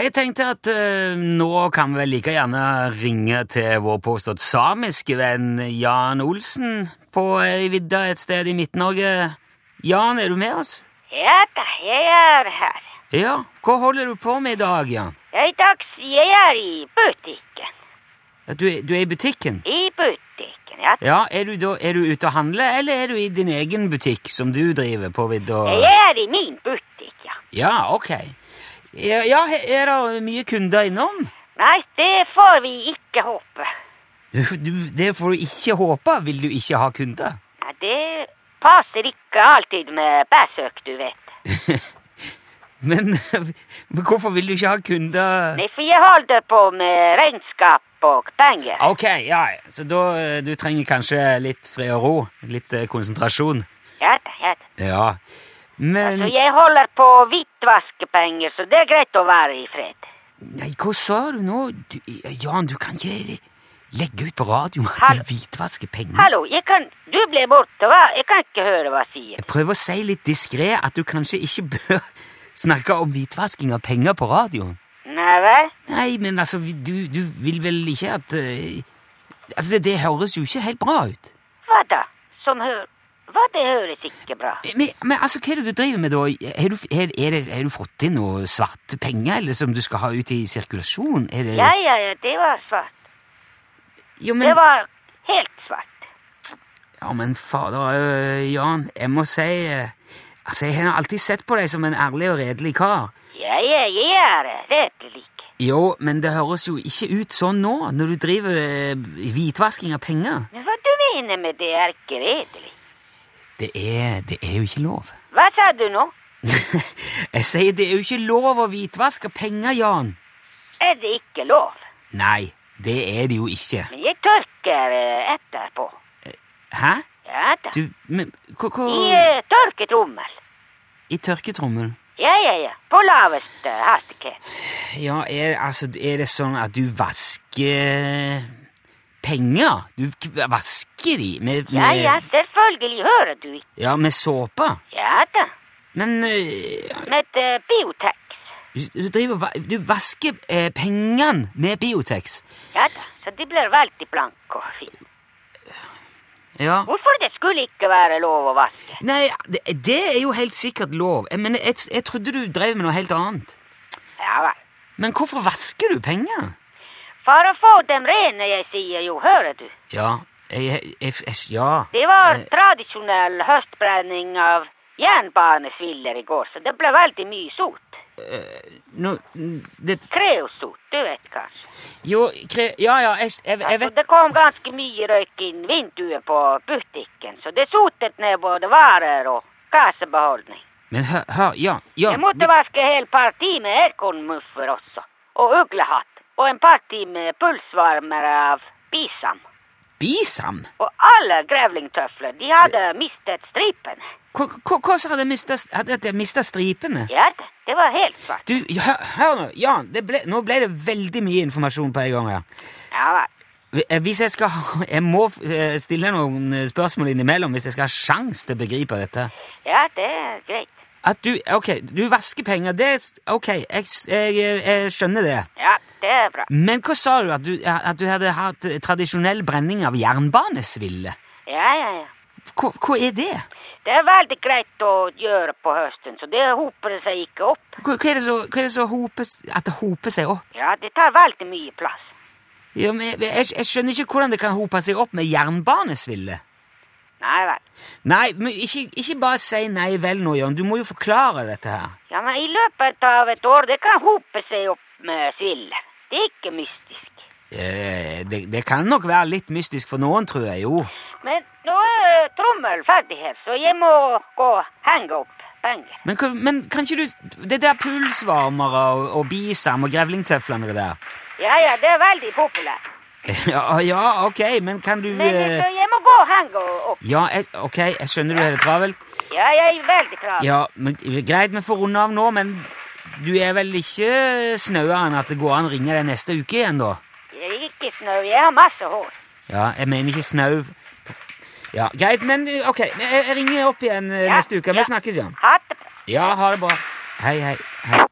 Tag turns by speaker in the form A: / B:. A: Jeg tenkte at eh, nå kan vi vel like gjerne ringe til vår påstått samiske venn Jan Olsen på ei vidda et sted i Midt-Norge. Jan, er du med oss?
B: Ja da, jeg er her.
A: Ja. Hva holder du på med i dag, Jan?
B: Ja, I dag jeg er i butikken.
A: At Du, er- du er i butikken?
B: I butikken, ja.
A: Ja, er du, da, er du ute og handler, eller er du i din egen butikk som du driver på vidda?
B: Jeg er i min butikk, ja.
A: Ja, ok. Ja, ja, er det mye kunder innom?
B: Nei, det får vi ikke håpe.
A: Du, du, det får du ikke håpe. Vil du ikke ha kunder?
B: Ja, det passer ikke alltid med besøk, du vet.
A: Men, men hvorfor vil du ikke ha kunder?
B: Nei, for jeg holder på med regnskap og penger.
A: Ok, ja, så da eh, du trenger kanskje litt fred og ro, litt eh, konsentrasjon.
B: Ja da, ja da.
A: Ja, men
B: Så jeg holder på hvitvaskpenger, så det er greit å være i fred.
A: Nei, hva sa du nå? Du, eh, Jan, du kan ikke legge ut på radioen at
B: Hallo.
A: du hvitvasker penger.
B: Hallo, jeg kan... Du ble borte, hva? Jeg kan ikke høre hva sier.
A: Jeg prøver å si litt diskré at du kanskje ikke bør snakke om hvitvasking av penger på radioen.
B: Nei, vel?
A: Nei, men altså, vi- du, du vil vel ikke at eh, Altså, det, det høres jo ikke helt bra ut.
B: Hva da? Som hører Hva, det høres ikke bra.
A: Men, men altså, hva er det du driver med da? Har du, er, er det, har du fått inn noe svarte penger eller som du skal ha ut i sirkulasjon? Er det,
B: Ja, ja, ja, det var svart.
A: jo, men,
B: Det var helt svart.
A: Ja, men fader, øh, Jan, jeg må si øh, Altså, jeg har alltid sett på deg som en ærlig og redelig kar.
B: Ja, ja, jeg er redelig.
A: Jo, men det høres jo ikke ut sånn nå, når du driver øh, hvitvasking av penger.
B: Men hva du mener med det er ikke redelig?
A: Det er, det er jo ikke lov.
B: Hva sa du nå?
A: jeg sier det er jo ikke lov å hvitvaske penger, Jan.
B: Er det ikke lov?
A: Nei, det er det jo ikke.
B: Men jeg tørker eh, etterpå.
A: Hæ?
B: Ja da.
A: Du, men hva hva-
B: I eh, tørketrommel.
A: I tørketrommel?
B: Ja, ja, ja. På laveste hastighet.
A: Ja, er, altså, er det sånn at du vasker penger? Du k- vasker de med, med,
B: Ja, ja, selvfølgelig hører du ikke.
A: ja, med såpe?
B: Ja da.
A: Men eh,
B: Med eh, Biotex.
A: du, driver, va- du vasker eh, pengene med Biotex?
B: Ja da. Så de blir veldig blanke og fine.
A: Ja.
B: Hvorfor det skulle ikke være lov å vaske?
A: Nei, det, det er jo helt sikkert lov. Jeg, mener, jeg, jeg trodde du drev med noe helt annet.
B: Ja vel.
A: Men hvorfor vasker du penger?
B: For å få dem rene, jeg sier jo, hører du.
A: Ja, jeg, jeg, jeg Ja.
B: Det var
A: Eh.
B: tradisjonell høstbrenning av jernbanesviller i går, så det ble veldig mye sot.
A: Nå, det,
B: Kreosot, du vet kanskje.
A: jo, kre, ja, ja, jeg, jeg, jeg
B: Altså,
A: vet
B: det kom ganske mye røyk inn vinduet på butikken, så det sotet ned både varer og kassebeholdning.
A: Men hør, hør ja, ja.
B: Jeg måtte vaske hel parti med ekornmuffer også, og uglehatt, og en parti med pulsvarmere av bisam.
A: Bisam?
B: Og alle grevlingtøfler, de hadde mistet stripene.
A: Hvordan hadde jeg mistet, hadde jeg mistet stripene?
B: Ja, det- det var helt svart.
A: Du, hør, hør nå, Jan, det ble, nå ble det veldig mye informasjon på en gang her.
B: Ja, vel.
A: Hvi- eh, Hvis jeg skal ha- Jeg må eh, stille noen eh, spørsmål innimellom hvis jeg skal ha sjans til å begripe dette.
B: ja, det er greit.
A: At du Ok, du vasker penger, det er s- Ok, jeg, s- jeg, eh, jeg skjønner det.
B: Ja, det er bra.
A: Men hva sa du? At du, at du hadde hatt tradisjonell brenning av jernbanesville?
B: Ja, ja, ja.
A: Hva, hva er det?
B: Det er veldig greit å gjøre på høsten, så det hoper seg ikke opp.
A: Hva, hva er det så- hva er det som hoper s- At det hoper seg opp?
B: Ja, det tar veldig mye plass.
A: Ja, men jeg, jeg, jeg skjønner ikke hvordan det kan hope seg opp med jernbanesville.
B: Nei vel.
A: Nei, men ikke, ikke bare si nei vel nå, Jørn. Du må jo forklare dette her.
B: Ja, men i løpet av et år, det kan hope seg opp med sviller. Det er ikke mystisk.
A: Eh, det, det kan nok være litt mystisk for noen, tror jeg jo.
B: Men nå er trommel ferdig her, så jeg må gå og henge opp penger.
A: Men, hva- men kan ikke du Det der pulsvarmere og, og bisam og grevlingtøflene og det der.
B: Ja, ja, det er veldig populært.
A: Ja, ja, ok, men kan du
B: Men
A: eh,
B: så jeg må gå og henge opp.
A: Ja, jeg, ok, jeg skjønner du har det travelt.
B: Ja, jeg er veldig klar.
A: Ja, men Greit, vi får runde av nå, men du er vel ikke snauere enn at det går an å ringe deg neste uke igjen, da?
B: Jeg er ikke snø, jeg har masse hår.
A: Ja, jeg mener ikke snau. Ja, greit, men eh, ok, men jeg jeg ringer opp igjen eh,
B: Ja,
A: neste uke. Vi
B: ja.
A: snakkes, Jan.
B: Ha det bra.
A: Ja, ha det bra. Hei, hei. hei.